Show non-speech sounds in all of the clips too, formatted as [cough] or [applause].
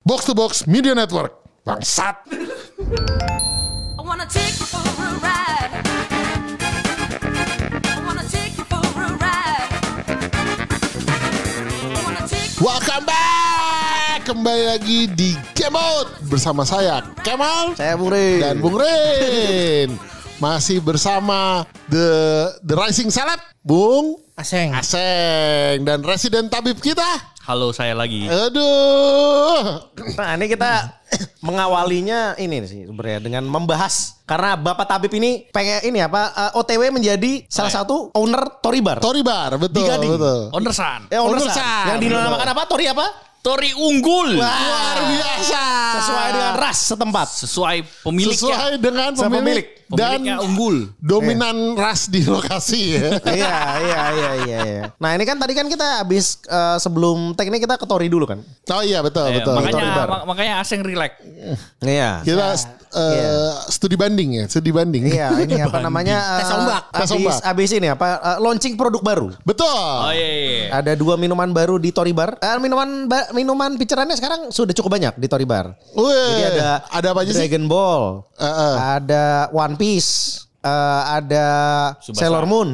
Box to Box Media Network. Bangsat. I wanna take you for a ride. I wanna take you for a ride. I wanna take Welcome back. Kembali lagi di Kemot bersama saya Kemal Saya Bung Rey. dan Bung Rin. Masih bersama the the Rising Celeb Bung Aseng. Aseng dan resident tabib kita. Halo saya lagi. Aduh. Nah ini kita mengawalinya ini sih sebenarnya dengan membahas karena Bapak Tabib ini pengen ini apa eh, OTW menjadi salah satu owner Toribar. Toribar betul Gading. betul. Onersan. eh owner owner San. San. Yang dinamakan apa? Tori apa? Tori unggul. Luar biasa. Sesuai dengan ras setempat. Sesuai pemiliknya. Sesuai dengan Sama pemilik, pemilik. Pemiliknya unggul. Eh. dominan ras di lokasi [laughs] ya. iya, iya, iya, iya, iya. Nah ini kan tadi kan kita habis eh, sebelum tag ini kita ke Tori dulu kan? Oh iya betul Eh, betul. makanya Toribar. mak- makanya asing relax. Iya. kita eh, iya. studi banding ya, studi banding. Iya, ini apa namanya? eh, Tes ombak. Tes Habis, ombak. habis ini apa? eh, launching produk baru. [laughs] Betul. Oh iya. iya, iya. Ada dua minuman baru di Tori Bar. Eh, minuman ba- minuman picerannya sekarang sudah cukup banyak di Tori Bar. Weh, Jadi ada Eh, ada apa aja sih? Dragon Ball, Eh, eh. ada One Piece, eh, ada Tsubasa. Sailor Moon.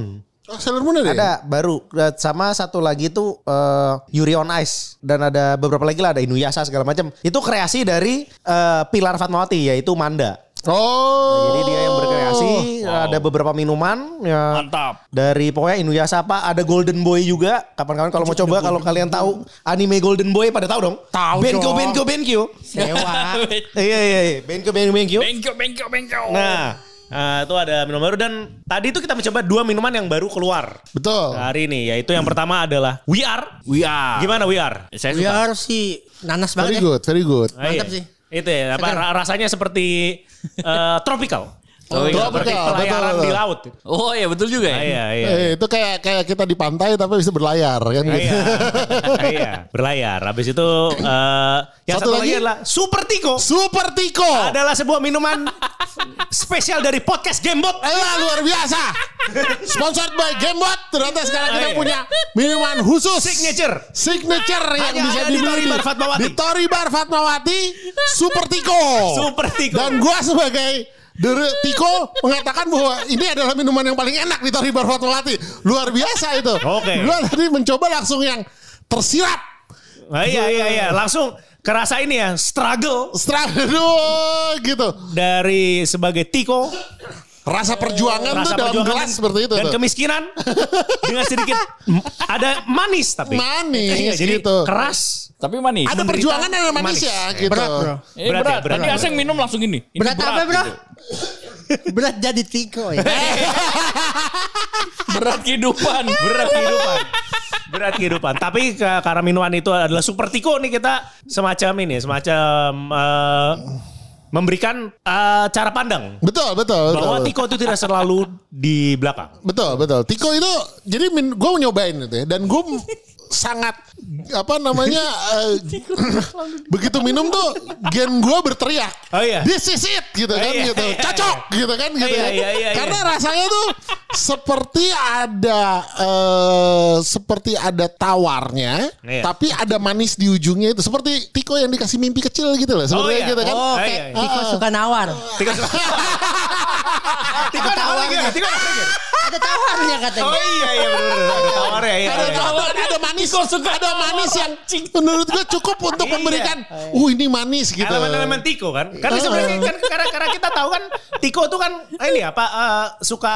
Oh, Sailor Moon ada. ya? Ada baru Eh, sama satu lagi tuh eh, Yuri on Ice dan ada beberapa lagi lah ada Inuyasha segala macam. Itu kreasi dari eh, Pilar Fatmawati yaitu Manda. Oh. Nah, Jadi dia yang berkreasi eh, Wow. ada beberapa minuman ya, Mantap. dari pokoknya Inuyasha apa ada Golden Boy juga kapan-kapan kalau mau coba kalau kalian tahu anime Golden Boy pada tahu dong Tahu Benkyo dong. Benkyo Benkyo Sewa. [laughs] iya iya iya Benkyo Benkyo Benkyo Bengkok bengkok bengkok. nah eh, itu ada minuman baru dan tadi itu kita mencoba dua minuman yang baru keluar Betul. hari ini yaitu yang pertama adalah We Are We are. gimana We Are Saya We suka. are sih nanas Very banget ya. good, very good. Nah, Mantap iya. sih. itu ya apa, Segar. ra- rasanya seperti eh, tropical Oh, iya. Tropical, seperti pelayaran betul, di betul. laut Oh iya betul juga Nah, ya. iya iya Eh, itu kayak kayak kita di pantai tapi bisa berlayar kan [laughs] gitu. Iya. iya. [laughs] Berlayar. Habis itu eh, yang Satu satu, lagi? lagi, adalah Super Tiko. Super Tiko. Adalah sebuah minuman spesial dari podcast Gamebot. Elah luar biasa. Sponsored by Gamebot. Ternyata sekarang kita Oh, iya. punya minuman khusus. Signature. Signature yang Hanya bisa ada di dibeli Tori Bar Fatmawati. Di Tori Bar Fatmawati. Super Tiko. Super Tiko. Dan gua sebagai Dere Tiko mengatakan bahwa ini adalah minuman yang paling enak di Tori Bar Fatmawati. Luar biasa itu. Oke. Gua tadi mencoba langsung yang tersirat. Ah, iya iya iya. Langsung kerasa ini ya struggle Stradu gitu. dari sebagai Tiko Rasa perjuangan tuh rasa Kan dalam perjuangan gelas seperti itu. dan tuh. kemiskinan dengan sedikit m- ada manis tapi Manis, Iya, jadi gitu. keras Tapi manis. Ada perjuangan dan ada manis, manis. ya gitu. Berat Eh, bro. Berat ya, berat. berat, Tadi berat. asing minum langsung ini. Ini Berat, apa bro? gitu. Berat jadi tiko ya. Eh. Berat kehidupan. berat kehidupan berat kehidupan tapi ke- karena minuman itu adalah super tiko nih kita semacam ini semacam eh, memberikan eh, cara pandang Betul, betul, betul. bahwa tiko itu tidak selalu di belakang Betul, betul. Tiko itu jadi min, gue nyobain itu ya dan gue [laughs] sangat apa namanya [laughs] eh, begitu minum tuh gen gue berteriak Oh, iya. this is it gitu kan iya, gitu iya, cocok gitu kan gitu Iya, ya. iya, iya, karena rasanya tuh seperti ada eh, seperti ada tawarnya Iya. tapi ada manis di ujungnya itu seperti Tiko yang dikasih mimpi kecil gitu loh sebenarnya iya. gitu kan Oh, Kayak- iya, iya. Tiko suka nawar. [laughs] tiko tiko ada tawarnya tiko ada tawarnya. Ada tawarnya katanya. oh iya iya benar ada tawarnya iya, ya. ada iya. tawar, ada manis, ada manis yang menurut gue cukup untuk Iya. memberikan, uh ini manis gitu. elemen-elemen Tiko kan. Karena Oh. sebenarnya kan karena, karena kita tahu kan Tiko itu kan ini apa eh, suka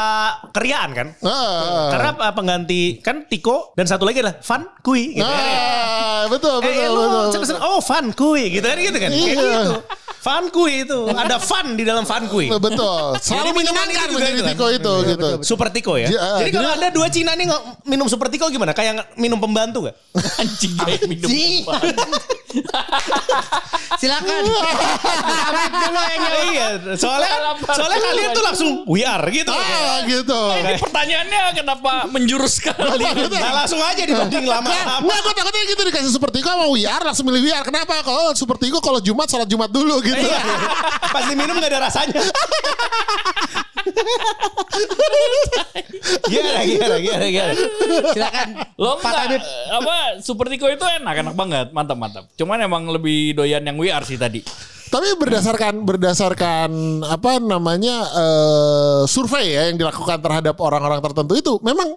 keriaan kan. Ah. Karena apa, pengganti kan Tiko dan satu lagi adalah Van Kui gitu kan. ya. Ah, betul, Eh, betul, eh, lu betul. seneng-seneng, oh Van Kui gitu kan gitu kan. Kayak Iya. gitu. Van Kui itu ada Van di dalam Van Kui. Betul. Selalu Jadi minuman menyenangkan itu juga menjadi itu kan. tiko itu gitu. Super Tiko ya. Iya, Jadi kalau jadi- ada dua Cina nih nggak minum Super Tiko gimana? Kayak nggak- minum pembantu gak? Anjing dia yang minum. Ji. Silakan. Amit dulu yang nyawa. iya, soalnya soalnya kalian tuh langsung we are gitu. [laughs] Ah, gitu. Ini pertanyaannya kenapa menjurus sekali? Nah, langsung aja dibanding Nah, lama-lama. Nggak, gue takutnya gitu dikasih super tiko sama wiar langsung milih wiar. Kenapa? Kalau super tiko kalau Jumat sholat Jumat dulu gitu. [laughs] Iya. Pas diminum gak ada rasanya. Gimana, gimana, gimana, gimana. Silakan. Lo Pak Tabib. enggak, apa Super Tiko itu enak enak banget mantap mantap. Cuman emang lebih doyan yang WR sih tadi. Tapi berdasarkan berdasarkan apa namanya eh, survei ya yang dilakukan terhadap orang-orang tertentu itu memang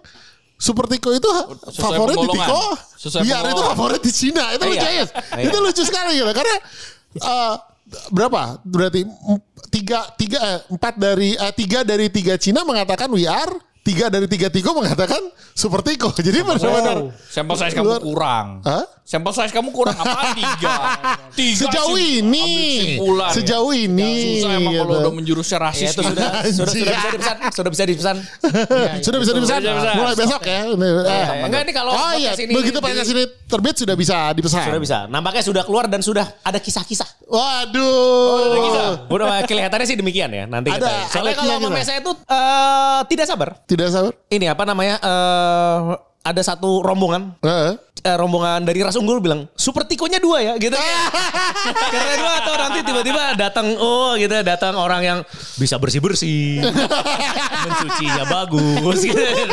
Super Tiko itu ha- Sesuai favorit di penggolongan. Tiko, Sesuai biar itu penggolongan. favorit di Cina. Itu Iya. lucu ya. Itu lucu sekali gitu karena eh, berapa? Berarti em- tiga tiga eh, empat dari eh, tiga dari tiga Cina mengatakan we are, tiga dari tiga Tiko mengatakan Super Tiko. [laughs] Jadi benar-benar Oh. Sampel size kamu Luar- kurang. Hah? Sampel size kamu kurang apa [laughs] tiga? tiga sejauh sih. ini, Ambil kesimpulan ya. sejauh ini, Susah emang kalau gitu. udah menjurusnya rasis Ya itu gitu. sudah, sudah, sudah bisa dipesan. Sudah bisa dipesan. Iya, sudah bisa dipesan. Sudah bisa. Mulai besok ya. Ini, eh. Enggak ini kalau Oh iya, podcast ini- begitu podcast ini terbit sudah bisa dipesan. Sudah bisa. Nampaknya sudah keluar dan sudah ada kisah-kisah. Waduh. Oh, Udah kelihatannya sih demikian ya nanti Ada- kita. Soalnya ada kalau kisah-kisah. mama saya itu eh, tidak sabar. Tidak sabar. Ini apa namanya? eh, ada satu rombongan Heeh. eh, rombongan dari ras unggul bilang super tikonya dua ya gitu [laughs] karena dua atau nanti tiba-tiba datang oh gitu datang orang yang bisa bersih bersih [laughs] mencucinya bagus gitu terus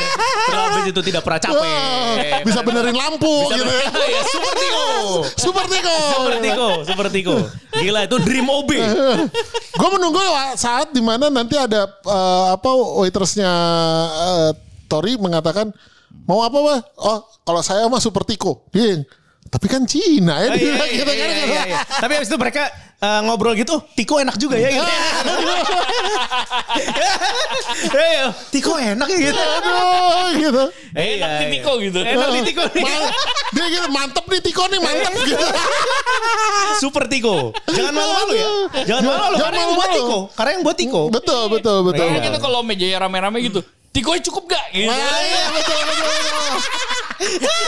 habis itu tidak pernah capek Wah, bisa benerin lampu Bisa gitu. [laughs] ya. benerin- Oh, iya. ya, super tiko Super Tiko. super tiko super tiko gila itu dream Eh, OB [laughs] Gue menunggu wa- saat dimana nanti ada eh, apa waitersnya eh, Tori mengatakan mau apa mah? Oh kalau saya mah Super Tiko. Ding. Tapi kan Cina Oh, ya. iya, dia bilang gitu kan. Tapi abis itu mereka eh, ngobrol gitu, "Oh, Tiko enak juga ya gitu. Eh, Tiko enak ya gitu. Aduh gitu. Eh, Enak Iya, nih iya. Tiko gitu. Enak nih Tiko nih. Ma- Dia gitu mantep nih Tiko nih mantep Iya, gitu. Super Tiko. Jangan malu-malu ya. Jangan malu-malu. Jangan Karena yang buat malu-malu. Tiko. Karena yang buat Tiko. Betul betul betul. Iya, Karena kita kalau meja ya rame-rame gitu. Tiko cukup gak? Gitu. Nah, iya betul betul. betul.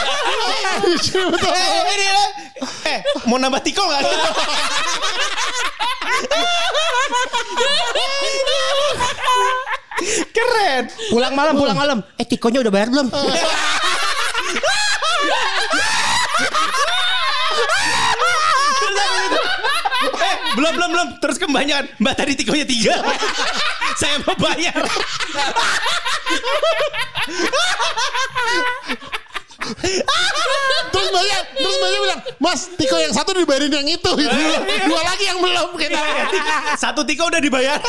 betul. Eh, ini lah. Eh, mau nambah Tiko gak? Keren. Pulang malam, pulang malam. Eh tikonya udah bayar belum? Eh, belum, belum, belum. Terus kebanyakan. Mbak tadi tikonya tiga. [laughs] Saya mau bayar. Terus banyak, terus banyak bilang, Mas Tiko yang satu dibayarin yang itu, gitu. Iya. dua lagi yang belum kita. Satu tiko udah dibayar.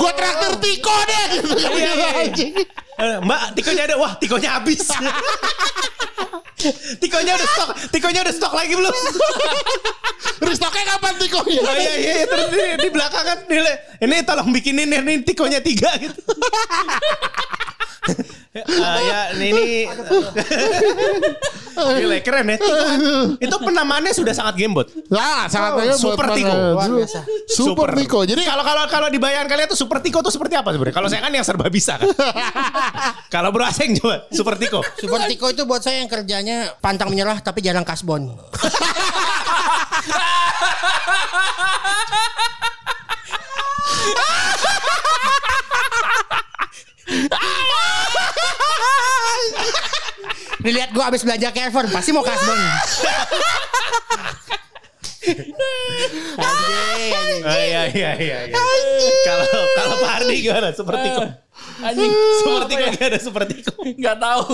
Gua traktir Tiko deh. Gitu. Iya, iya, iya. Eh, Mbak, tikonya ada. Wah, tikonya [laughs] habis. tikonya udah stok. Tikonya udah stok lagi [laughs] belum? Restocknya kapan Tiko? Oh iya, iya. iya. Terus di, di belakang kan. Dile, ini tolong bikinin ya, ini tikonya tiga [laughs] gitu. Ah, ya, ini, [laughs] ini Gila, keren ya. Tiko, itu penamaannya sudah sangat gamebot. Nah, sangat Oh, banyak buat Super para- Tiko. Luar biasa. Super Tiko. Jadi kalau kalau kalau di bayangan kalian tuh super tiko tuh seperti apa sebenarnya? Kalau saya kan yang serba bisa [laughs] kan. kalau bro aseng coba super tiko. Super Tiko itu buat saya yang kerjanya pantang menyerah tapi jarang kasbon. Dilihat gua abis belanja ke Evan pasti mau kasbon. Anjing, anjing. Oh, iya iya iya. iya. Kalau kalau Pak Ardi gimana super tiko? Anjing. Super Eh, Apa tiko ya? dia ada super tiko. Gak tahu.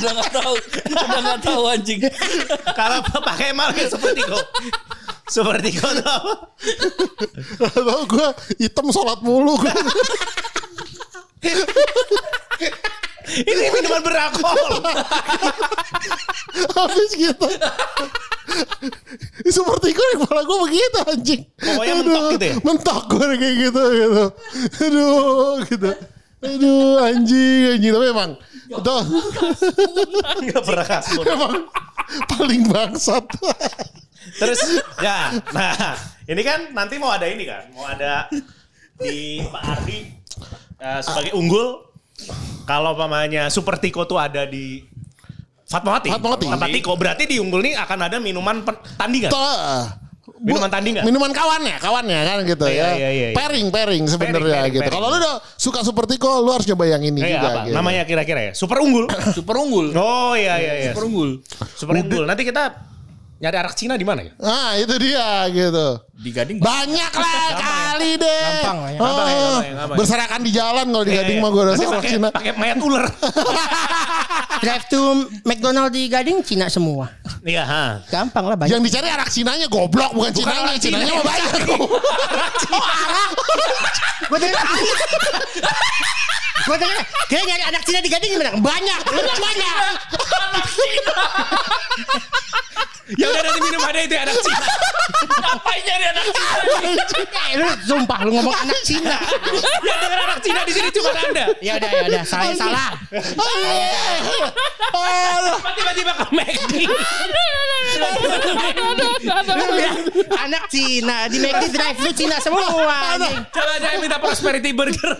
Udah gak tahu. Udah gak tahu anjing. Kalau Pak Kemal ya super tiko. Super tiko tuh apa? Tahu gue hitam sholat mulu. Gua. Ini minuman beralkohol. Habis [laughs] gitu. Super Tiko di kepala gue begitu anjing. Pokoknya mentok gitu ya? Mentok gue kayak gitu gitu. Aduh gitu. Aduh anjing anjing. Tapi emang. Itu Enggak pernah kasur. emang paling bangsat. Terus ya, nah ini kan nanti mau ada ini kan, mau ada di Pak Ardi eh, sebagai Ah. unggul. Kalau mamanya Super Tiko tuh ada di Fatmawati. Fatmawati. Tiko berarti di unggul ini akan ada minuman pen- tandingan. Tuh. Minuman tandingan. Minuman kawannya, kawannya kan gitu Iya, ya. iya, iya, iya. Pairing, pairing sebenarnya Pairing, pairing, gitu. Kalau lu udah suka Super Tiko, lu harus nyoba yang ini Eh, juga. apa? gitu. Namanya [coughs] kira-kira ya? Super unggul. Super unggul. Oh iya iya iya. Super unggul. Super unggul. Nanti kita Nyari arak Cina di mana ya? Ah itu dia gitu. Di Gading. Banyak lah kali deh. ya. Gampang lah Ah, Gampang ya. Iya, ya, gampang ya, gampang ya. berserakan di jalan kalau di Gading mah gue Iya, rasa Iya, Nanti orang pakai- Cina. Pakai mayat ular. [laughs] Drive to McDonald di Gading Cina semua. Iya, ha. Gampang lah banyak. Yang dicari anak Cinanya goblok bukan, Cinanya. anak Cinanya Cina. mah banyak. oh arak. Gue tanya. Gue tanya, dia nyari anak Cina di Gading gimana? Banyak, banyak, banyak. Yang udah nanti minum ada itu ya, arak [laughs] Cina. Ngapain nyari anak Cina? Eh, lu sumpah lu ngomong anak Cina. Yang denger arak Cina di sini cuma Anda. Ya udah, ya udah, salah, salah. Oh, iya. Aduh. Tiba-tiba ke McD. Lu bilang anak Cina Nah, di McD drive lu Cina semua. anjing. Jangan jangan minta prosperity burger.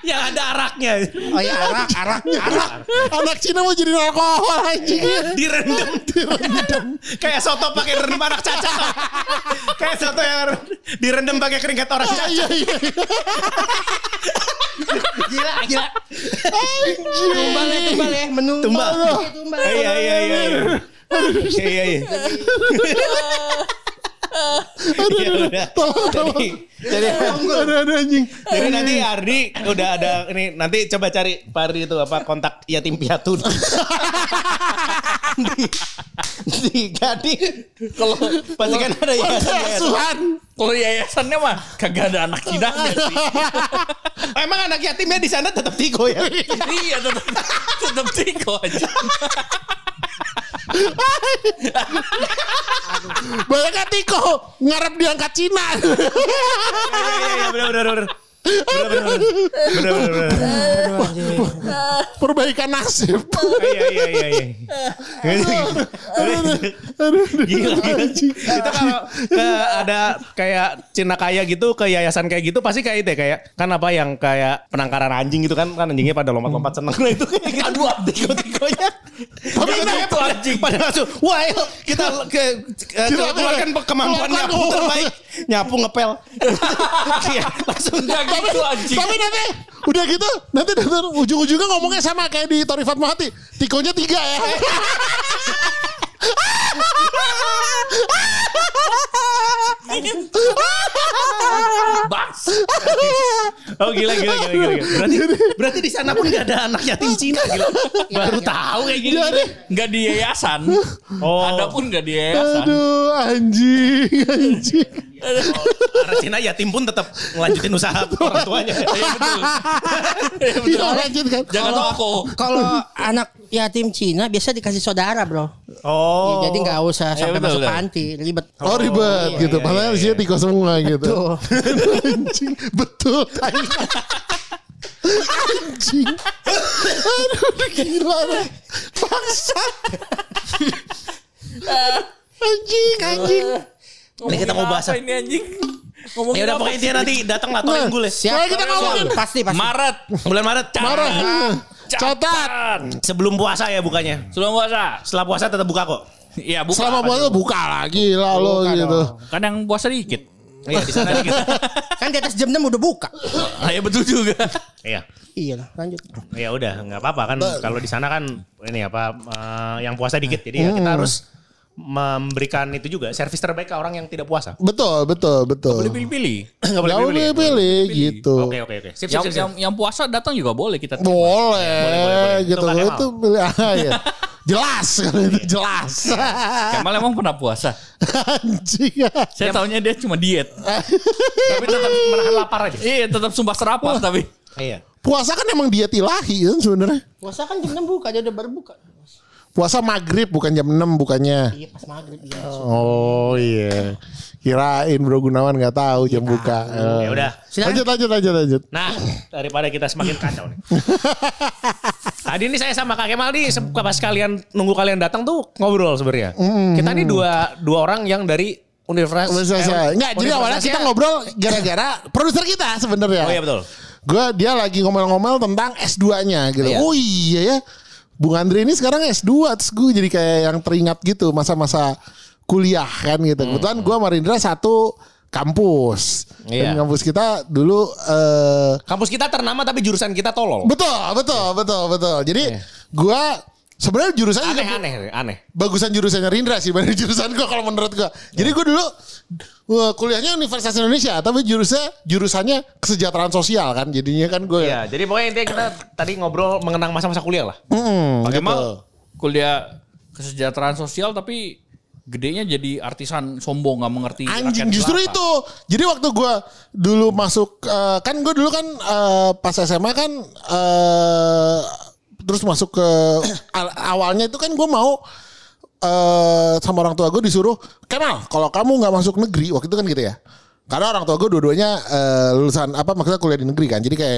Yang ada araknya. Oh ya arak, arak, arak. Iya. Anak Cina mau jadi alkohol anjing. Direndam. Kayak soto pakai rendam arak caca. Kayak soto yang direndam pakai keringat orang Ah, caca. Iya iya. Gila, gila. Tumbal ya, Anjing. tumbal ya, menu. Tumbal. tumbal. Iya, iya, iya. Iya, iya, iya. Iya, Ya udah. Tolong, tolong. Jadi, jadi Ada ada anjing. Jadi nanti Ardi udah ada ini nanti coba cari Pari itu apa kontak yatim piatu [laughs] di, di Gading. Kalau pasti kan ada ya. Asuhan. Kalau yayasannya mah kagak ada anak Cina sih. Emang anak yatimnya di sana tetap tigo ya. Iya tetap tetap tiko aja. Banyak tiko ngarep diangkat Cina. Iya iya benar benar benar. Benar benar benar. Benar benar. Perbaikan nasib. Iya iya iya iya. Gila, gila. Itu Iya, kalau ke ada kayak Cina kaya gitu, ke yayasan kayak gitu pasti kayak itu ya, kayak kan apa yang kayak penangkaran anjing gitu kan, kan anjingnya pada lompat-lompat seneng nah itu kayak gitu. [laughs] Aduh, tiko-tikonya. Tapi itu itu anjing. Pada langsung, wah ayo [laughs] kita ke, ke Kita keluarkan keluarkan kemampuan nyapu kemampuan. terbaik. Nyapu ngepel. [laughs] Iya, langsung Enggak gitu anjing. Tapi nanti udah gitu nanti nanti ujung-ujungnya ngomongnya sama kayak di Tori Fatmawati. Tikonya tiga ya. Bas. Oh gila gila gila gila. gila. Berarti berarti di sana pun gak ada anak yatim Cina gila. Baru tahu kayak gini. Jadi Enggak di yayasan. Oh. Ada pun enggak di yayasan. aduh anjing anjing. Karena Cina yatim pun tetap ngelanjutin usaha [laughs] orang tuanya. Iya betul. Iya lanjut kan. Jangan Kalau- toko. Kalau anak yatim Cina biasa dikasih saudara, Bro. Oh. Jadi nggak Iya, usah sampai betul, masuk betul. panti, ribet. Oh ribet iya, gitu. iya, Padahal iya, isinya iya. tiko semua gitu. Betul. [laughs] anjing. Betul. tai. anjing. Aduh gila. dah. Bangsa. anjing anjing. Ini kita mau bahas. Apa ini anjing? Ya udah pokoknya dia nanti datang lah Torin gue. Siapa Eh, kita ngomongin? Iya, Pasti pasti. Maret Bulan Maret. Catat. Marah. Catat. Sebelum puasa ya bukannya. sebelum puasa. Setelah puasa tetap buka kok. Iya buka. Selama puasa buka lagi lah lo Buka gitu. dong. Kan yang puasa dikit. Iya di sana dikit. Kan di atas jam 6 udah buka. Ah, ya betul juga. Iya. Iya, lah, lanjut. Ya udah nggak apa-apa kan kalau di sana kan ini apa eh, yang puasa dikit jadi ya kita harus memberikan itu juga servis terbaik ke orang yang tidak puasa. Betul, betul, betul. [coughs] Boleh pilih-pilih. Enggak Gak boleh pilih gitu. Oke oke oke. Sip Yang, sip sip. yang, yang puasa datang juga boleh kita. boleh. Boleh gitu. Itu nggak Itu pilih ah, ya. Jelas kalau Iya. itu jelas. Kemal emang pernah puasa. Anjing. Saya tahunya dia cuma diet. Tapi tetap menahan lapar aja. Iya tetap sumpah serapan tapi. Iya. Puasa kan emang diet ilahi kan sebenarnya. Puasa kan jam 6 buka, dia udah baru buka. Puasa maghrib bukan jam 6 bukannya. Iya, pas maghrib iya. Oh iya. Kirain Bro Gunawan nggak tahu jam buka. Eh. Ya udah. Silakan. Lanjut lanjut lanjut lanjut. Nah, daripada kita semakin kacau [laughs] nih. Tadi ini saya sama Kak Kemal nih se- pas kalian nunggu kalian datang tuh ngobrol sebenarnya. Kita nih dua dua orang yang dari Hmm. universitas. Nggak selesai. eh, Nggak, jadi awalnya kita universitasnya- ngobrol gara-gara produser kita sebenarnya. Oh iya betul. Gue dia lagi ngomel-ngomel tentang S2-nya gitu. Iya. Oh iya ya. Bung Andre ini sekarang S2 terus gue jadi kayak yang teringat gitu masa-masa kuliah kan gitu. Hmm. Kebetulan gue sama Rindra satu kampus. Iya. Dan kampus kita dulu eh Kampus kita ternama tapi jurusan kita tolol. betul, betul, betul, betul. Jadi gua Sebenarnya jurusannya juga- Aneh-aneh, Iya. aneh. bagusan jurusannya Rindra sih [laughs] dibanding jurusan gua kalau menurut gua. Jadi gua dulu wah, kuliahnya Universitas Indonesia tapi jurusnya jurusannya kesejahteraan sosial kan jadinya kan gua Iya, jadi pokoknya intinya kita tadi ngobrol mengenang masa-masa kuliah lah. Hmm, Pak Kemal gitu. kuliah kesejahteraan sosial tapi gedenya jadi artisan sombong nggak mengerti Anjing rakyat justru jelata. itu. Jadi waktu gua dulu masuk eh, kan gua dulu kan eh, pas SMA kan eh terus masuk ke [coughs] al- awalnya itu kan gua mau eh sama orang tua gue disuruh Kemal kalau kamu nggak masuk negeri waktu itu kan gitu ya karena orang tua gue dua-duanya eh, lulusan apa maksudnya kuliah di negeri kan jadi kayak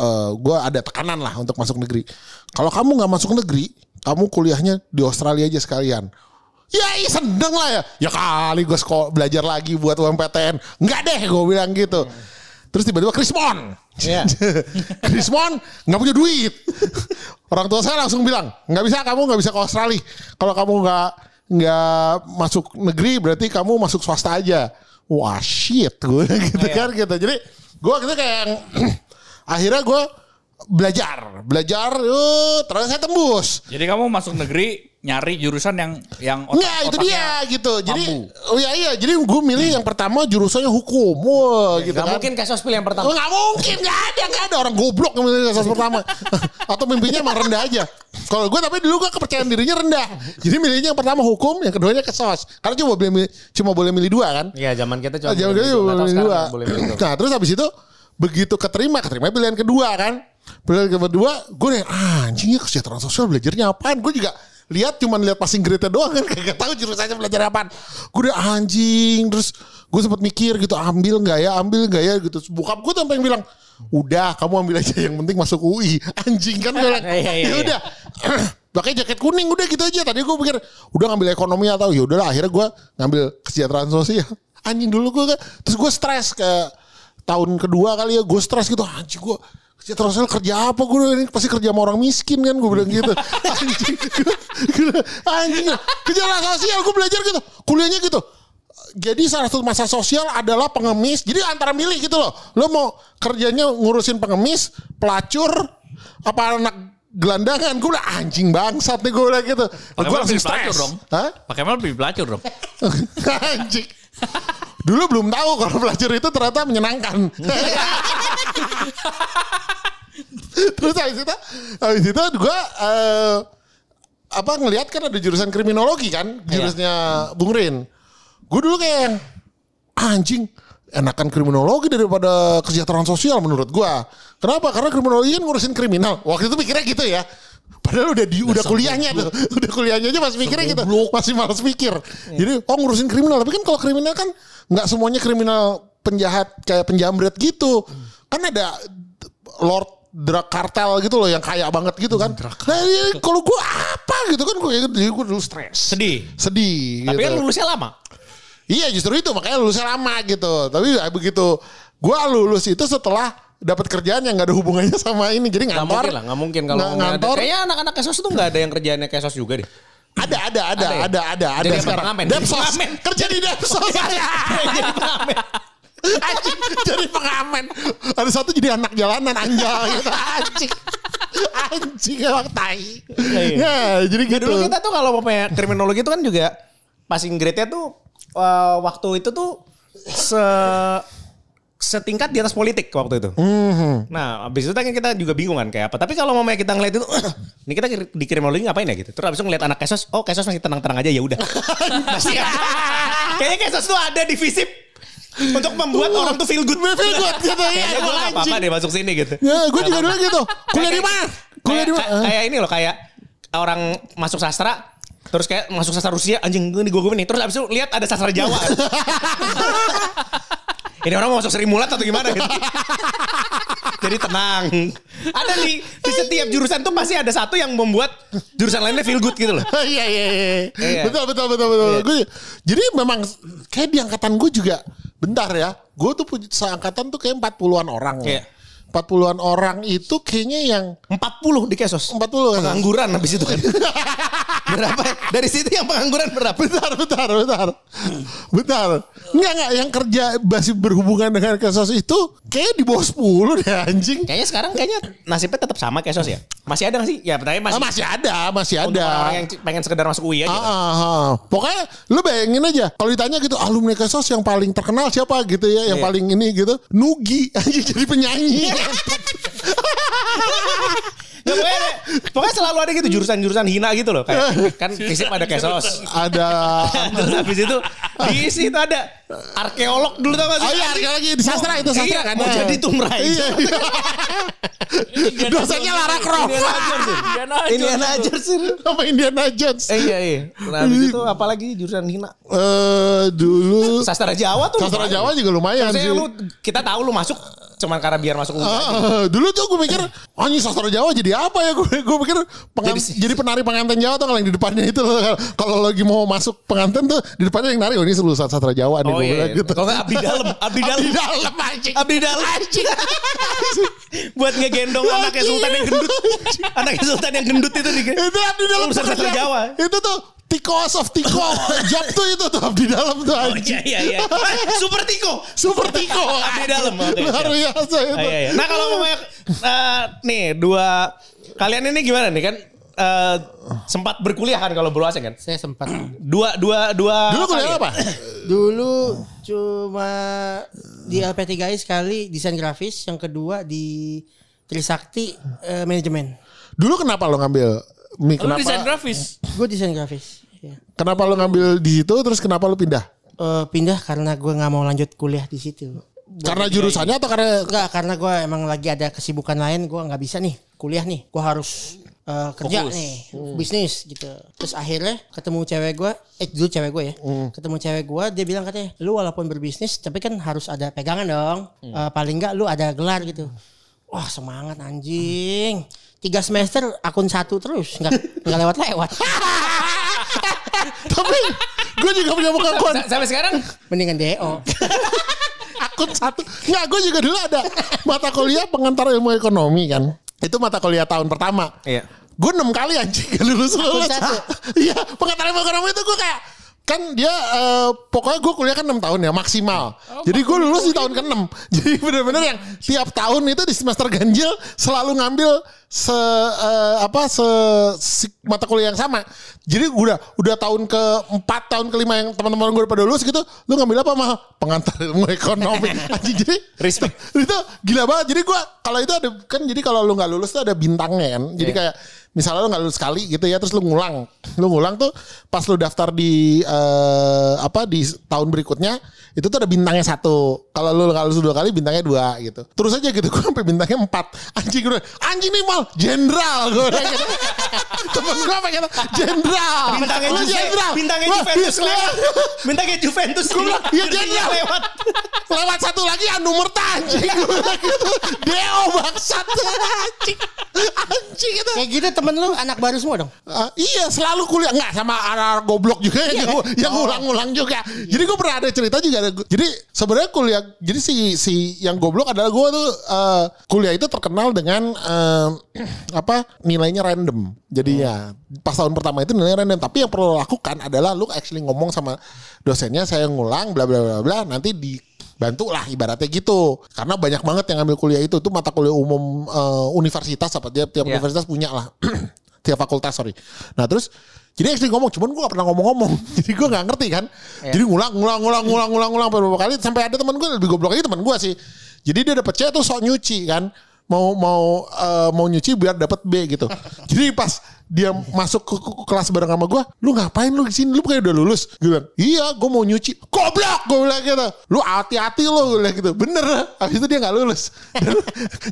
eh, gue ada tekanan lah untuk masuk negeri kalau kamu nggak masuk negeri kamu kuliahnya di Australia aja sekalian Ya ih, seneng lah ya. Ya kali gue sekolah belajar lagi buat UMPTN. Enggak deh gue bilang gitu. Terus tiba-tiba Krismon. Iya. [laughs] Krismon nggak punya duit. Orang tua saya langsung bilang, nggak bisa kamu nggak bisa ke Australia. Kalau kamu nggak nggak masuk negeri berarti kamu masuk swasta aja. Wah shit gue [laughs] gitu Oh, iya. kan gitu. Jadi gue gitu kayak yang- [clears throat] akhirnya gue belajar belajar eh, terus saya tembus jadi kamu masuk negeri nyari jurusan yang yang Enggak, itu otaknya dia gitu. Jadi mampu. oh iya iya, jadi gue milih yang pertama jurusannya hukum. Wah, Iya, gitu Gak kan. mungkin kasus pilih yang pertama. Nggak mungkin, nggak ada, nggak ada orang goblok yang milih kasus pertama. [laughs] Atau mimpinya emang rendah aja. Kalau gue tapi dulu gue kepercayaan dirinya rendah. Jadi milihnya yang pertama hukum, yang keduanya kesos. Karena cuma boleh milih, cuma boleh milih dua kan. Iya, zaman kita cuma Zaman boleh kita begitu. cuma Nggak tahu milih sekarang dua. boleh gitu. begitu. Nah terus habis itu begitu keterima, keterima pilihan kedua kan. Pilihan kedua gue nih anjingnya ya, kesejahteraan sosial belajarnya apaan? Gue juga lihat cuman lihat passing grade-nya doang kan [laughs] kagak tahu jurusannya belajar apaan. Gue udah anjing terus gue sempat mikir gitu ambil nggak ya ambil nggak ya gitu. Terus Bokap gue sampai yang bilang udah kamu ambil aja yang penting masuk UI [laughs] anjing kan gue bilang [laughs] Iya, iya, iya. ya udah [clears throat] pakai jaket kuning udah gitu aja tadi gue pikir udah ngambil ekonomi atau ya udahlah akhirnya gue ngambil kesejahteraan sosial [laughs] anjing dulu gue terus gue stres ke tahun kedua kali ya gue stres gitu anjing gue kesejahteraan sosial kerja apa gue ini pasti kerja sama orang miskin kan gue bilang gitu anjing [laughs] gua- gua- anjing kesejahteraan sosial gue belajar gitu kuliahnya gitu jadi salah satu masa sosial adalah pengemis. Jadi antara milih gitu loh. Lo mau kerjanya ngurusin pengemis, pelacur, apa anak gelandangan. Gue udah anjing bangsat nih gue udah gitu. Pakai Gue mel langsung pilih pelacur stres. dong. Hah? [laughs] Pakai mel pilih pelacur dong. anjing. Dulu belum tahu kalau pelacur itu ternyata menyenangkan. [laughs] Terus habis itu, habis itu gue eh, apa ngelihat kan ada jurusan kriminologi Iya. kan, jurusnya Bung Rin. Gue dulu kayak yang, anjing enakan kriminologi daripada kesejahteraan sosial menurut gua. Kenapa? Karena kriminologi kan ngurusin kriminal. Waktu itu mikirnya gitu ya. Padahal udah di udah kuliahnya tuh. [laughs] Udah kuliahnya aja masih mikirnya gitu. Masih malas pikir. Iya. Jadi oh ngurusin kriminal, tapi kan kalau kriminal kan nggak semuanya kriminal penjahat kayak penjamret gitu. Hmm. Kan ada lord drug kartel gitu loh yang kaya banget gitu kan. Nah, ini kalau gua apa gitu kan gua jadi gua dulu stres. Sedih. Sedih Tapi gitu. kan lulusnya lama. Iya justru itu makanya lulusnya lama gitu. Tapi ya begitu gua lulus itu setelah dapat kerjaan yang nggak ada hubungannya sama ini. Jadi Gak ngantor. mungkin lah, gak mungkin kalau nggak nggak ada. ngantor. Kayaknya anak-anak kesos tuh gak ada yang kerjaannya kesos juga deh. Ada ada ada Ada ya? ada ada ada, Jadi apa, sekarang. pengamen? Depsos. Pengamen. Iya. Kerja di Depsos. [laughs] Jadi pengamen. Anjing, jadi pengamen. Ada satu jadi anak jalanan [laughs] anjay gitu. Anjing. Anjing emang tai. iya. Ya, jadi Ya gitu. dulu kita tuh kalau mau punya kriminologi itu kan juga passing grade-nya tuh uh, waktu itu tuh se setingkat di atas politik waktu itu. Mhm. Nah, abis itu kan kita juga bingung kan kayak apa. Tapi kalau mamanya kita ngeliat itu, ini kita kir- di kriminologi ngapain ya gitu. Terus abis itu ngeliat anak kesos, oh kesos masih tenang-tenang aja [laughs] ya udah. masih ya. Kayaknya kesos tuh ada di visip untuk membuat orang tuh feel good. Feel good Uh. [laughs] gitu, iya, Kayaknya gue emang gak apa-apa anjing. deh masuk sini gitu. Ya, gue juga dulu gitu. Kuliah di mana? Kuliah di Kayak- mana? Kayak ini loh kayak orang masuk sastra terus kayak masuk sastra Rusia anjing gue nih gue nih terus abis itu lihat ada sastra [laughs] Jawa. ini orang mau masuk Sri Mulat atau gimana gitu. Jadi tenang. Ada di, di setiap jurusan tuh pasti ada satu yang membuat jurusan lainnya feel good gitu loh. [laughs] Iya iya iya. Iya. Betul betul betul betul. Iya. Gua- jadi memang kayak di angkatan gue juga bentar ya. Gue tuh punya seangkatan tuh kayak 40-an orang. Iya. Ya. 40-an orang itu kayaknya yang 40 di Kesos. 40 kan? Pengangguran habis itu kan. berapa? Dari situ yang pengangguran berapa? Bentar, bentar, bentar. [laughs] Bentar. Enggak, enggak. Yang kerja masih berhubungan dengan kasus itu kayak di bawah 10 deh anjing. Kayaknya sekarang kayaknya nasibnya tetap sama Kesos ya. Masih ada gak sih? Ya pertanyaan masih. Ah, masih ada, masih Untuk ada. orang yang pengen sekedar masuk UI aja. Ah, ah, ah. Pokoknya lu bayangin aja kalau ditanya gitu alumni Kesos yang paling terkenal siapa gitu ya, yang Iya. paling ini gitu, Nugi [laughs] anjing jadi penyanyi. Nggak, pokoknya, pokoknya selalu ada gitu jurusan-jurusan hina gitu loh. Eh. Kayak, kan fisip ada kesos. [laughs] ada Terus habis itu di isi itu ada arkeolog dulu tau gak sih? Ah. Oh iya, ada lagi di sastra itu sastra Iya, kan. mau Ah. jadi tumrai. Iya. [laughs] iya. Dosanya Lara Croft. Indiana Jones. Sin. Indiana Jones. Indiana Jones. Sin. Sama Indiana Jones. Eh, iya iya. Nah habis itu apalagi jurusan hina. Eh dulu Sastra Jawa tuh. sastra lumayan. Jawa juga lumayan sih. Maksudnya lu kita tahu lu masuk cuman karena biar masuk UI. Ah, ah, dulu tuh gue mikir anjing sastra Jawa jadi apa ya gue gue pikir pengan- Jadi- jadi, penari pengantin Jawa tuh kalau yang di depannya itu loh. kalau lagi mau masuk pengantin tuh di depannya yang nari oh ini seluruh sastra Jawa nih Oh gue iya. bilang gitu. Kalau nggak abdi [laughs] dalam, abdi dalam. Abdi dalam anjing. Abdi dalam. Buat ngegendong anaknya Sultan yang gendut. Anaknya Sultan yang gendut itu di Itu abdi dalam Urusan sastra pekerjaan. Jawa. Itu tuh tikos of [laughs] tiko job tuh itu tuh abdi dalam tuh Oh anjing. iya iya iya. Eh, [laughs] Super Tiko. Super [laughs] tiko. Abdi dalam. oh, Oke, siap. Luar biasa itu. Ah, iya, iya. Nah kalau mau nih dua kalian ini gimana nih kan eh, sempat berkuliah kan kalau berluasnya kan? Saya sempat. Dua dua dua. Dulu kuliah ya? apa? Dulu cuma di LP3I sekali desain grafis, yang kedua di Trisakti eh, manajemen. Dulu kenapa lo ngambil Mi, Lu desain kenapa, grafis. Gue desain grafis. ya. kenapa lo ngambil di situ terus kenapa lo pindah? Eh, pindah karena gue nggak mau lanjut kuliah di situ. Karena jurusannya atau karena Eh, Enggak, karena gue emang lagi ada kesibukan lain, gue nggak bisa nih kuliah nih. Gue harus eh, kerja Fokus. nih, bisnis gitu. Terus akhirnya ketemu cewek gue, eh dulu cewek gue ya, ketemu cewek gue, dia bilang katanya, lu walaupun berbisnis, tapi kan harus ada pegangan dong. Eh, paling nggak lu ada gelar gitu. Wah semangat anjing. Tiga semester akun satu terus, nggak nggak lewat-lewat. [laughs] Tapi gue juga punya pengakuan Sa- Sampai sekarang Mendingan E DO. akun satu. Nggak, gue juga dulu ada mata kuliah pengantar ilmu ekonomi kan. Itu mata kuliah tahun pertama. Iya. Gue enam kali anjing [laughs] gak lulus lulus. satu. Iya, pengantar ilmu ekonomi itu gue kayak kan dia eh, pokoknya gue kuliah kan 6 tahun ya maksimal. Jadi gue lulus di tahun ke-6. [laughs] Jadi bener-bener yang tiap tahun itu di semester ganjil selalu ngambil se eh, apa se, si- mata kuliah yang sama. Jadi udah udah tahun ke empat tahun kelima yang teman-teman gue pada lulus gitu, lu ngambil apa mah? Pengantar ilmu ekonomi. Anjing jadi Respect. itu gila banget. Jadi gua kalau itu ada kan jadi kalau lu nggak lulus tuh ada bintangnya kan. Jadi Iya. kayak misalnya lu nggak lulus sekali gitu ya terus lu ngulang. Lu ngulang tuh pas lu daftar di eh, apa di tahun berikutnya itu tuh ada bintangnya satu. Kalau lu nggak lulus dua kali bintangnya dua gitu. Terus aja gitu [laughs] gua sampai bintangnya empat. Anjing gue anjing nih mal jenderal gue gitu. [laughs] Temen gue apa gitu jenderal. bintangnya Lu Juve, jenderal. bintangnya iya, Wah, Juventus iya. lewat. Bintangnya Juventus Gua bilang, iya, Jadinya jenderal. lewat. Lewat satu lagi ya nomor anjing. [laughs] Deo bangsat [laughs] anjing. Anjing itu. Kayak gitu temen lu anak baru semua dong. Ah, iya selalu kuliah nggak sama anak goblok juga ya, yang ngu- yang ngulang-ngulang juga. Jadi gue pernah ada cerita juga. Ada, jadi sebenarnya kuliah jadi si si yang goblok adalah gue tuh eh, kuliah itu terkenal dengan eh, [clears throat] apa nilainya random. Jadinya pas tahun pertama itu nilainya random. Tapi yang perlu lo lakukan adalah lu actually ngomong sama dosennya saya ngulang bla bla bla bla. Nanti di bantu lah ibaratnya gitu karena banyak banget yang ngambil kuliah itu itu mata kuliah umum eh, universitas apa tiap tiap Iya. universitas punya lah [clears throat] tiap fakultas sorry nah terus jadi actually ngomong cuman gue gak pernah ngomong-ngomong [laughs] jadi gue nggak ngerti kan jadi ngulang ngulang ngulang ngulang ngulang ngulang beberapa kali sampai ada teman gue lebih goblok lagi teman gue sih jadi dia dapet C tuh sok nyuci kan mau mau eh, mau nyuci biar dapat B gitu jadi pas dia masuk ke, ke- ke kelas bareng sama gue lu ngapain lu di sini lu kayak udah lulus gue bilang iya gue mau nyuci goblok gue bilang gitu lu hati-hati lu gue bilang gitu bener habis itu dia nggak lulus [laughs] Dan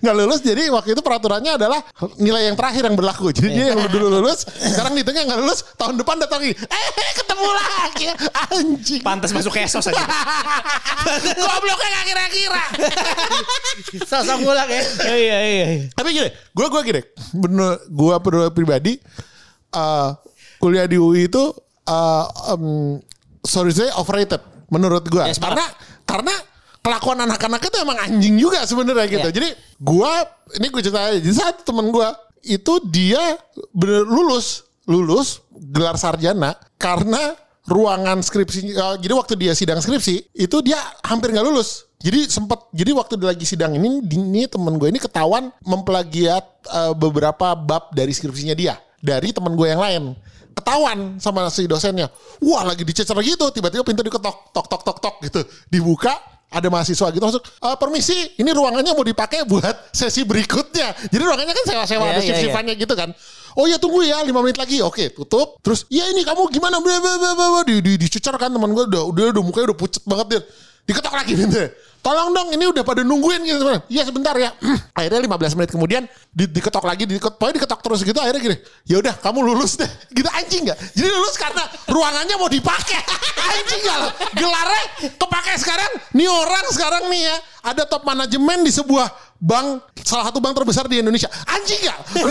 nggak lulus jadi waktu itu peraturannya adalah nilai yang terakhir yang berlaku jadi dia yang dulu lulus sekarang di tengah nggak lulus tahun depan datang lagi eh ketemu lagi anjing Pantas masuk kesos aja. gobloknya nggak kira-kira Sosok ngulang ya. Iya [laughs] iya iya. tapi gini gue gue gini bener gue pri- pribadi eh, kuliah di UI itu eh, em, sorry saya overrated menurut gue Ya, sepakat. karena karena kelakuan anak-anak itu emang anjing juga sebenarnya gitu Iya. jadi gue ini gue cerita aja. jadi satu temen gue itu dia bener lulus lulus gelar sarjana karena ruangan skripsi eh, jadi waktu dia sidang skripsi itu dia hampir nggak lulus jadi sempat jadi waktu dia lagi sidang ini ini temen gue ini ketahuan memplagiat eh, beberapa bab dari skripsinya dia dari temen gue yang lain ketahuan sama si dosennya wah lagi dicecer gitu tiba-tiba pintu diketok tok tok tok tok gitu dibuka ada mahasiswa gitu masuk "Eh, permisi ini ruangannya mau dipakai buat [laughs] sesi berikutnya jadi ruangannya kan sewa-sewa Iya, ada iya, shift-shiftan tanya iya. gitu kan. Oh ya tunggu ya 5 menit lagi. Oke, tutup. Terus, "Ya ini kamu gimana?" Bla bla bla bla bla. di, di dicucar kan teman gue udah udah udah mukanya udah pucet banget dia. Diketok lagi pintunya. Tolong dong, ini udah pada nungguin gitu teman. Iya sebentar ya. [clears throat] akhirnya 15 menit kemudian di, diketok lagi, diketok, pokoknya diketok terus gitu. Akhirnya gini, ya udah kamu lulus deh. [laughs] Gitu anjing nggak? Jadi lulus karena ruangannya mau dipakai. [laughs] anjing nggak? lo? Gelarnya kepakai sekarang. Nih orang sekarang nih ya ada top manajemen di sebuah bank salah satu bank terbesar di Indonesia anjing [laughs] gak lu,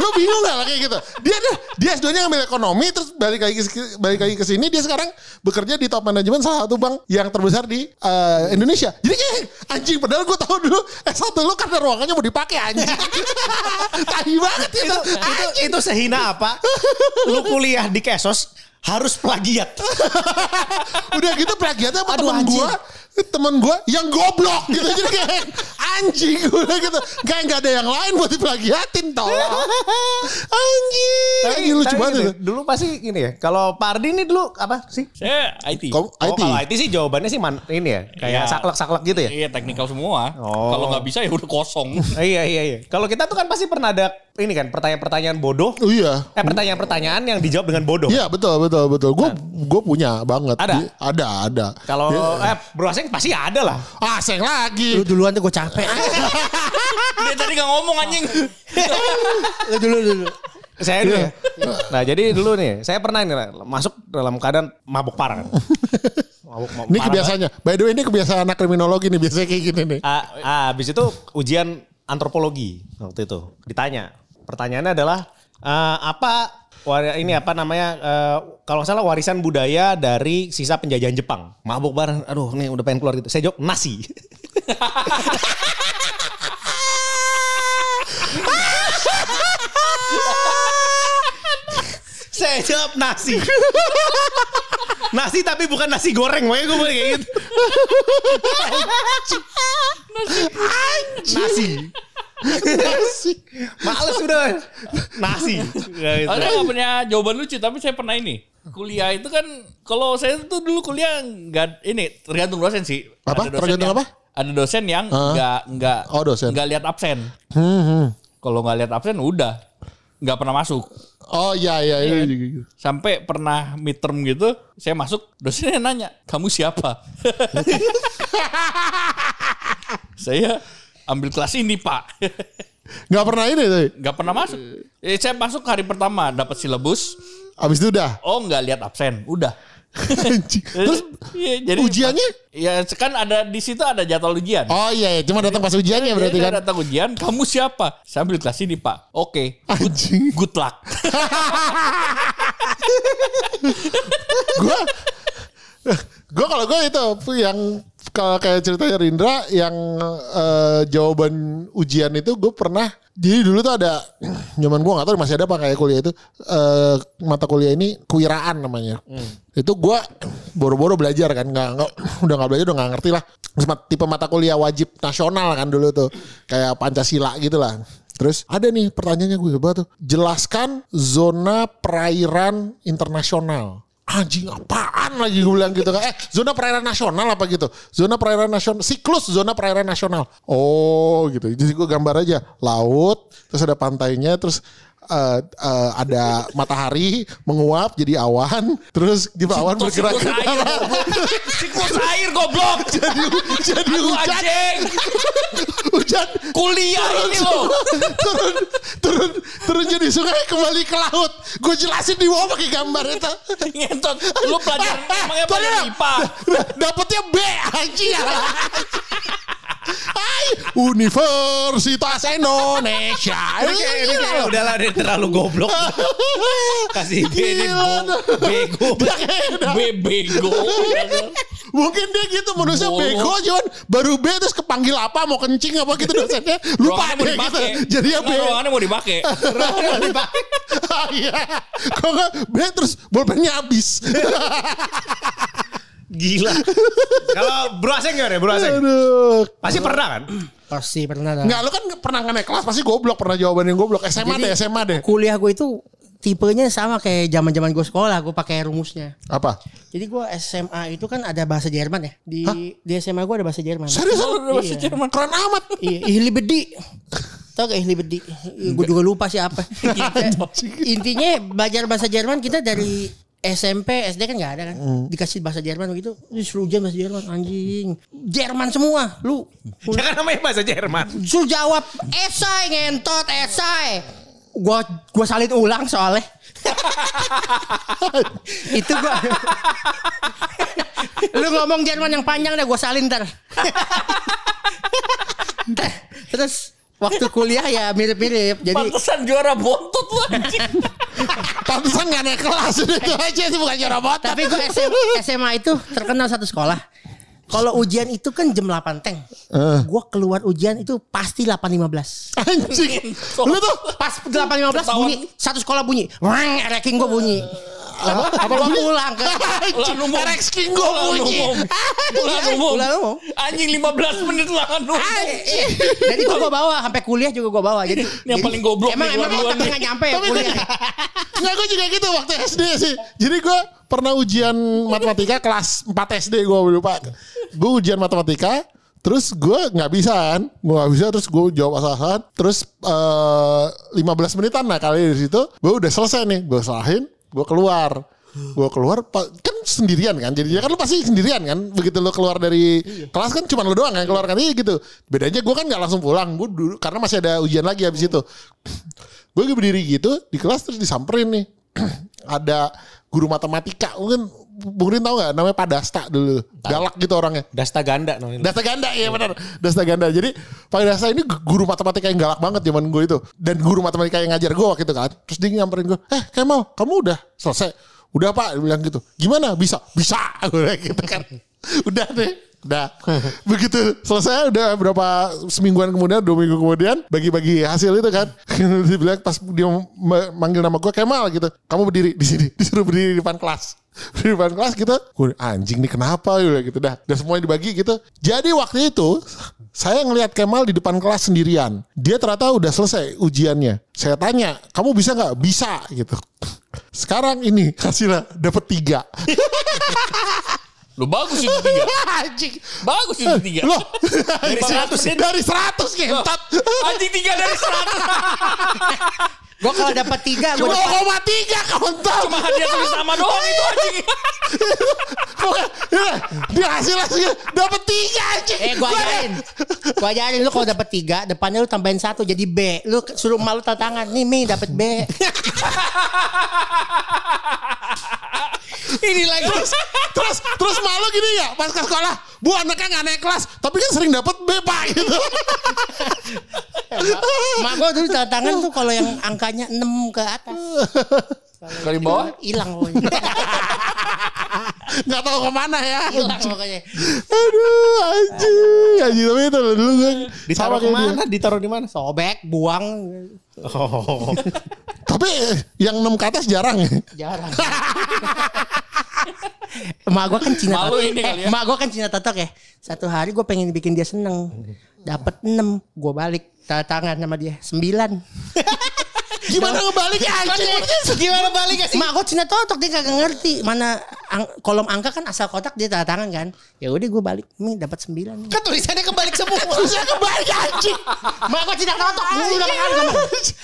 lu bingung gak kayak gitu dia dia S2-nya ngambil ekonomi terus balik lagi ke- balik lagi ke sini dia sekarang bekerja di top manajemen salah satu bank yang terbesar di eh, Indonesia jadi kayak anjing padahal gue tahu dulu S1 lu karena ruangannya mau dipakai anjing [laughs] tahi banget itu, itu, itu, itu sehina apa? Lu kuliah di Kesos harus plagiat. udah gitu plagiatnya sama Aduh, temen anjing. gue temen gue yang goblok gitu jadi kayak anjing gue gitu kayak nggak ada yang lain buat diplagiatin tolong anjing anjing lucu banget gini, itu Dulu pasti gini ya. Kalau Pardi nih dulu apa sih? Saya IT. kamu Oh, IT kalau IT sih jawabannya sih man, ini ya. Kayak Iya. saklek-saklek gitu ya. Iya teknikal semua. Oh. Kalau nggak bisa ya udah [laughs] kosong. Eh, iya iya iya. Kalau kita tuh kan pasti pernah ada ini kan pertanyaan-pertanyaan bodoh. Oh, iya Eh pertanyaan-pertanyaan yang dijawab dengan bodoh. iya betul betul betul gue gue punya banget Nah. Ada? Di- ada ada Kalau Dia- eh Bro Aseng pasti ada lah. ah seng lagi Lu duluan tuh gue capek. Dia tadi nggak ngomong anjing. Lu dulu dulu. Saya dulu ya. Nah jadi dulu nih, saya pernah nih lah, masuk dalam keadaan mabuk parah kan. Mabuk, [laughs] mabuk ini parah. kebiasaannya by the way ini kebiasaan anak kriminologi nih biasanya kayak gini nih Ah, ah, habis itu ujian antropologi waktu itu ditanya. Pertanyaannya adalah eh, apa war- ini apa namanya eh, kalau nggak salah warisan budaya dari sisa penjajahan Jepang. Mabuk bareng, aduh nih udah pengen keluar gitu. Saya jawab nasi. Saya jawab nasi. nasi tapi bukan nasi goreng, makanya gue kayak gitu. nasi. Nasi. Males udah. Nasi. Ya, gitu. Saya nggak punya jawaban lucu tapi saya pernah ini. Kuliah itu kan kalau saya tuh dulu kuliah nggak ini tergantung dosen sih. Apa? dosen Tergantung yang- apa? Ada dosen yang Heeh. nggak nggak Oh, dosen. nggak lihat absen. Hmm, hmm. Kalau nggak lihat absen udah nggak pernah masuk. oh iya iya iya Sampai pernah midterm gitu, saya masuk, dosennya nanya, kamu siapa? [laughs] saya ambil kelas ini pak. [laughs] nggak pernah ini tuh nggak pernah masuk. Eh, saya masuk hari pertama, dapat silabus. abis itu [laughs] udah Oh nggak lihat absen, [laughs] udah. Anjing. terus Iya, ujiannya? Ya kan ada di situ ada jadwal ujian. oh iya iya. cuma datang pas ujiannya berarti Jadi kan saya datang ujian, kamu siapa? Saya ambil kelas ini pak. Oke, Anjing. good luck. gue [laughs] gue kalau gue itu yang kalau kayak ceritanya Rindra yang eh, jawaban ujian itu gue pernah jadi dulu tuh ada [clears throat] zaman gue nggak tahu masih ada apa kayak kuliah itu eh, mata kuliah ini kewiraan namanya itu gue boro-boro belajar kan nggak nggak- udah nggak belajar udah nggak ngerti lah Terus mat- tipe mata kuliah wajib nasional kan dulu tuh kayak pancasila gitu lah terus ada nih pertanyaannya gue coba tuh jelaskan zona perairan internasional anjing apaan lagi gue bilang gitu kan eh zona perairan nasional apa gitu zona perairan nasional siklus zona perairan nasional oh gitu jadi gue gambar aja laut terus ada pantainya terus eh, eh, ada matahari menguap jadi awan terus di awan bergerak ke Siklus air, darat. goblok. Siklus air goblok. jadi [laughs] jadi Lu hujan anjing. [laughs] hujan Kuliah ini loh. turun turun turun jadi sungai kembali ke laut gue jelasin di bawah pakai gambar itu Ngentot. Lu [laughs] pelajaran Eh, eh, emangnya pelajaran tolong. IPA. D- Dapetnya B anjing. Hai, Universitas Indonesia. Iya. Ini kayak- ini kayak udah lah dia terlalu goblok. [laughs] Kasih B ini Gila, bo- bego. [laughs] Dia kayak udah- Iya. Bebego. Mungkin dia gitu manusia Bolong. bego cuman baru B terus kepanggil apa mau kencing apa gitu dosennya lupa Ruangannya deh mau gitu. dipakai. Jadi ya B. Nggak, ruangannya mau [laughs] dipakai. Ah, Iya. Kok nggak B terus bolpennya habis. Gila. [laughs] Kalau Bro Aseng gimana ya Bro Aseng? Aduh. Pasti pernah kan? Pasti pernah dah. Enggak, lu kan pernah nggak naik kelas pasti goblok pernah jawaban yang goblok. SMA deh, SMA deh. Kuliah gue itu tipenya sama kayak zaman-zaman gue sekolah, gue pakai rumusnya. Apa? Jadi gue SMA itu kan ada bahasa Jerman ya. Di di SMA gue ada bahasa Jerman. Serius Lu udah bahasa Iya. Jerman. keren amat. Iya, ihli bedi. Tau gak ihli bedi? Gue juga lupa sih [laughs] apa. Intinya- Intinya belajar bahasa Jerman kita dari SMP, SD kan gak ada kan. Hmm. Dikasih bahasa Jerman begitu. Lu suruh ujian bahasa Jerman, anjing. Jerman semua, lu. Ya kan namanya bahasa Jerman. Suruh jawab, esai ngentot, esai. Gua gua salin ulang soalnya. [laughs] itu gua lu ngomong Jerman yang panjang dah gua salin ntar [laughs] terus waktu kuliah ya mirip-mirip jadi Pantesan juara bontot lu anjing. [laughs] Pantesan nggak naik [laughs] kelas udah itu aja sih bukan juara botak. tapi gua SM- SMA itu terkenal satu sekolah kalau ujian itu kan jam 8 teng gua keluar ujian itu pasti 8.15 [laughs] Anjing. Lu tuh pas 8.15 bunyi satu sekolah bunyi wang ranking gua bunyi apa gua pulang ke anjing. Ulan umum. Rex King gue Ulan bunyi. Iya, umum. Ulan umum. Ulan umum. Anjing 15 menit ulan umum. Dan itu gue bawa sampai kuliah juga gue bawa. Jadi yang jadi- paling goblok Emang nih, emang dua-duanya. tapi nggak nyampe ya Tapi gue kuliah. juga, nggak gue juga gitu waktu SD sih. Jadi gue pernah ujian matematika kelas 4 SD gue lupa. Gue ujian matematika, terus gue nggak bisa kan, gue nggak bisa terus gue jawab asal-asalan. Terus eh, 15 menitan lah kali di situ, gue udah selesai nih, gue salahin, gue keluar. Gue keluar, pa- kan sendirian kan jadinya kan lu pasti sendirian kan begitu lu keluar dari kelas kan cuma lu doang kan keluar kan iya gitu bedanya gue kan nggak langsung pulang gue dulu karena masih ada ujian lagi habis itu gue berdiri gitu di kelas terus disamperin nih [clears throat] ada guru matematika mungkin Bung Rin tau gak namanya Pak Dasta dulu galak gitu orangnya Dasta ganda namanya. Dasta ganda ya benar Dasta ganda jadi Pak Dasta ini guru matematika yang galak banget zaman gue itu dan guru matematika yang ngajar gue waktu itu kan terus dia nyamperin gue eh Kemal kamu udah selesai udah pak dia bilang gitu gimana bisa bisa [laughs] gue bilang gitu kan [laughs] udah deh udah begitu selesai udah berapa semingguan kemudian dua minggu kemudian bagi-bagi hasil itu kan [laughs] dia bilang pas dia ma- manggil nama gue Kemal gitu kamu berdiri di sini [laughs] disuruh berdiri di depan kelas di depan kelas kita gue anjing nih kenapa Gue bilang gitu dah dan semuanya dibagi gitu jadi waktu itu saya ngelihat Kemal di depan kelas sendirian dia ternyata udah selesai ujiannya saya tanya kamu bisa nggak bisa gitu [laughs] sekarang ini hasilnya dapat tiga Lu bagus itu tiga. [laughs] anjing Bagus itu tiga. loh Dari 100 ya? dari 100 ngentot Anjing tiga dari 100. Gue kalau dapat tiga gue cuma 0,3 kontol Cuma hadiah tulis nama doang itu anjing. Iya. dia hasilnya sih dapat tiga anjing Eh gue Gua- ajarin Gue ajarin lu kalau dapat tiga Depannya lu tambahin satu jadi B Lu ke- suruh malu tantangan Nih Mi dapat B ini lagi terus terus, terus malu gini ya pas ke sekolah bu anaknya nggak naik kelas tapi kan sering dapat B pak gitu Mak gue dulu tantangan tuh kalau yang angkanya 6 ke atas Kali bawah. Hilang pokoknya nggak tahu kemana ya Hilang pokoknya aduh anjing anjing tapi itu dulu gue sama Ditaruh kayak dia kemana? Ditaruh di mana? Sobek, buang Oh. tapi eh, yang 6 ke atas jarang ya Jarang Emak gue kan Cina Malu tatok. ini kali ya. Emak gue kan Cina tatok ya. Satu hari gue pengen bikin dia seneng. Dapat 6. Gue balik. Tanda tangan sama dia. 9. gimana ngebalik anjing Gimana balik sih? Mak gue Cina tatok. Dia kagak ngerti. Mana ang- kolom angka kan asal kotak dia tanda tangan kan. Ya udah gue balik. Mi dapat 9. kan tulisannya kebalik semua tulisannya kebalik anjing Mak gue Cina tatok. Mulu udah kan.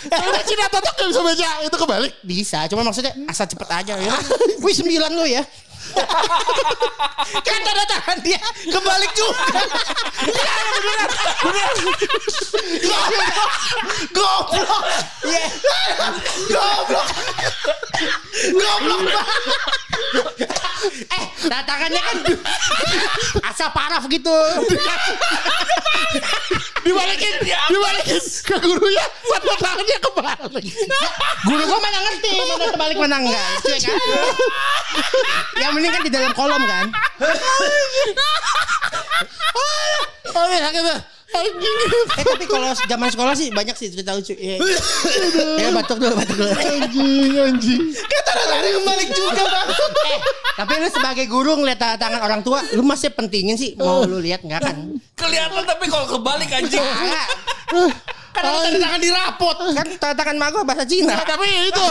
Karena Cina totok gak ya bisa baca itu kebalik Bisa. Cuma maksudnya asal cepet aja. [laughs] Ya. Wih 9 lu [laughs] ya. kan tanda tangan dia kebalik juga. goblok Iya. goblok goblok banget eh datangannya kan [laughs] asal paraf gitu Dibalikin, dibalikin ke gurunya, satu tangannya kebalik. guru gua mana ngerti mana kebalik mana enggak gitu ya kan yang penting kan di dalam kolom kan Oh iya, ya gitu. kita, anjing. eh tapi kalau zaman sekolah sih banyak sih cerita lucu ya, ya batuk dulu batuk dulu Anjing, anjing. lari kebalik juga bang. eh, tapi lu sebagai guru ngeliat tanda tangan orang tua, lu masih pentingin sih mau lu lihat nggak kan? Kelihatan tapi kalau kebalik anjing. Enggak. Kan ada tanda tangan di rapot. Kan tanda tangan mak gua bahasa Cina. Nah, tapi itu.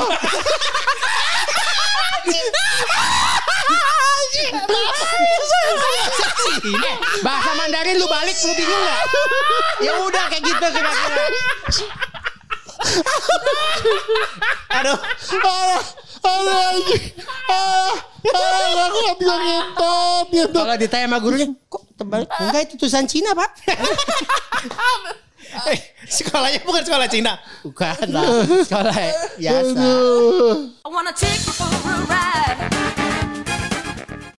Cina. Bahasa Mandarin lu balik lu bingung nggak? Ya udah kayak gitu kira-kira. Aduh. Aduh, aduh, anjing. Aduh, aduh, aku nggak bisa ngentot, ngentot. Kalau ditanya sama gurunya, kok terbalik? Enggak itu tulisan Cina pak. Eh, sekolahnya bukan sekolah Cina. Bukan lah. Sekolah biasa. Aduh. I wanna take you for a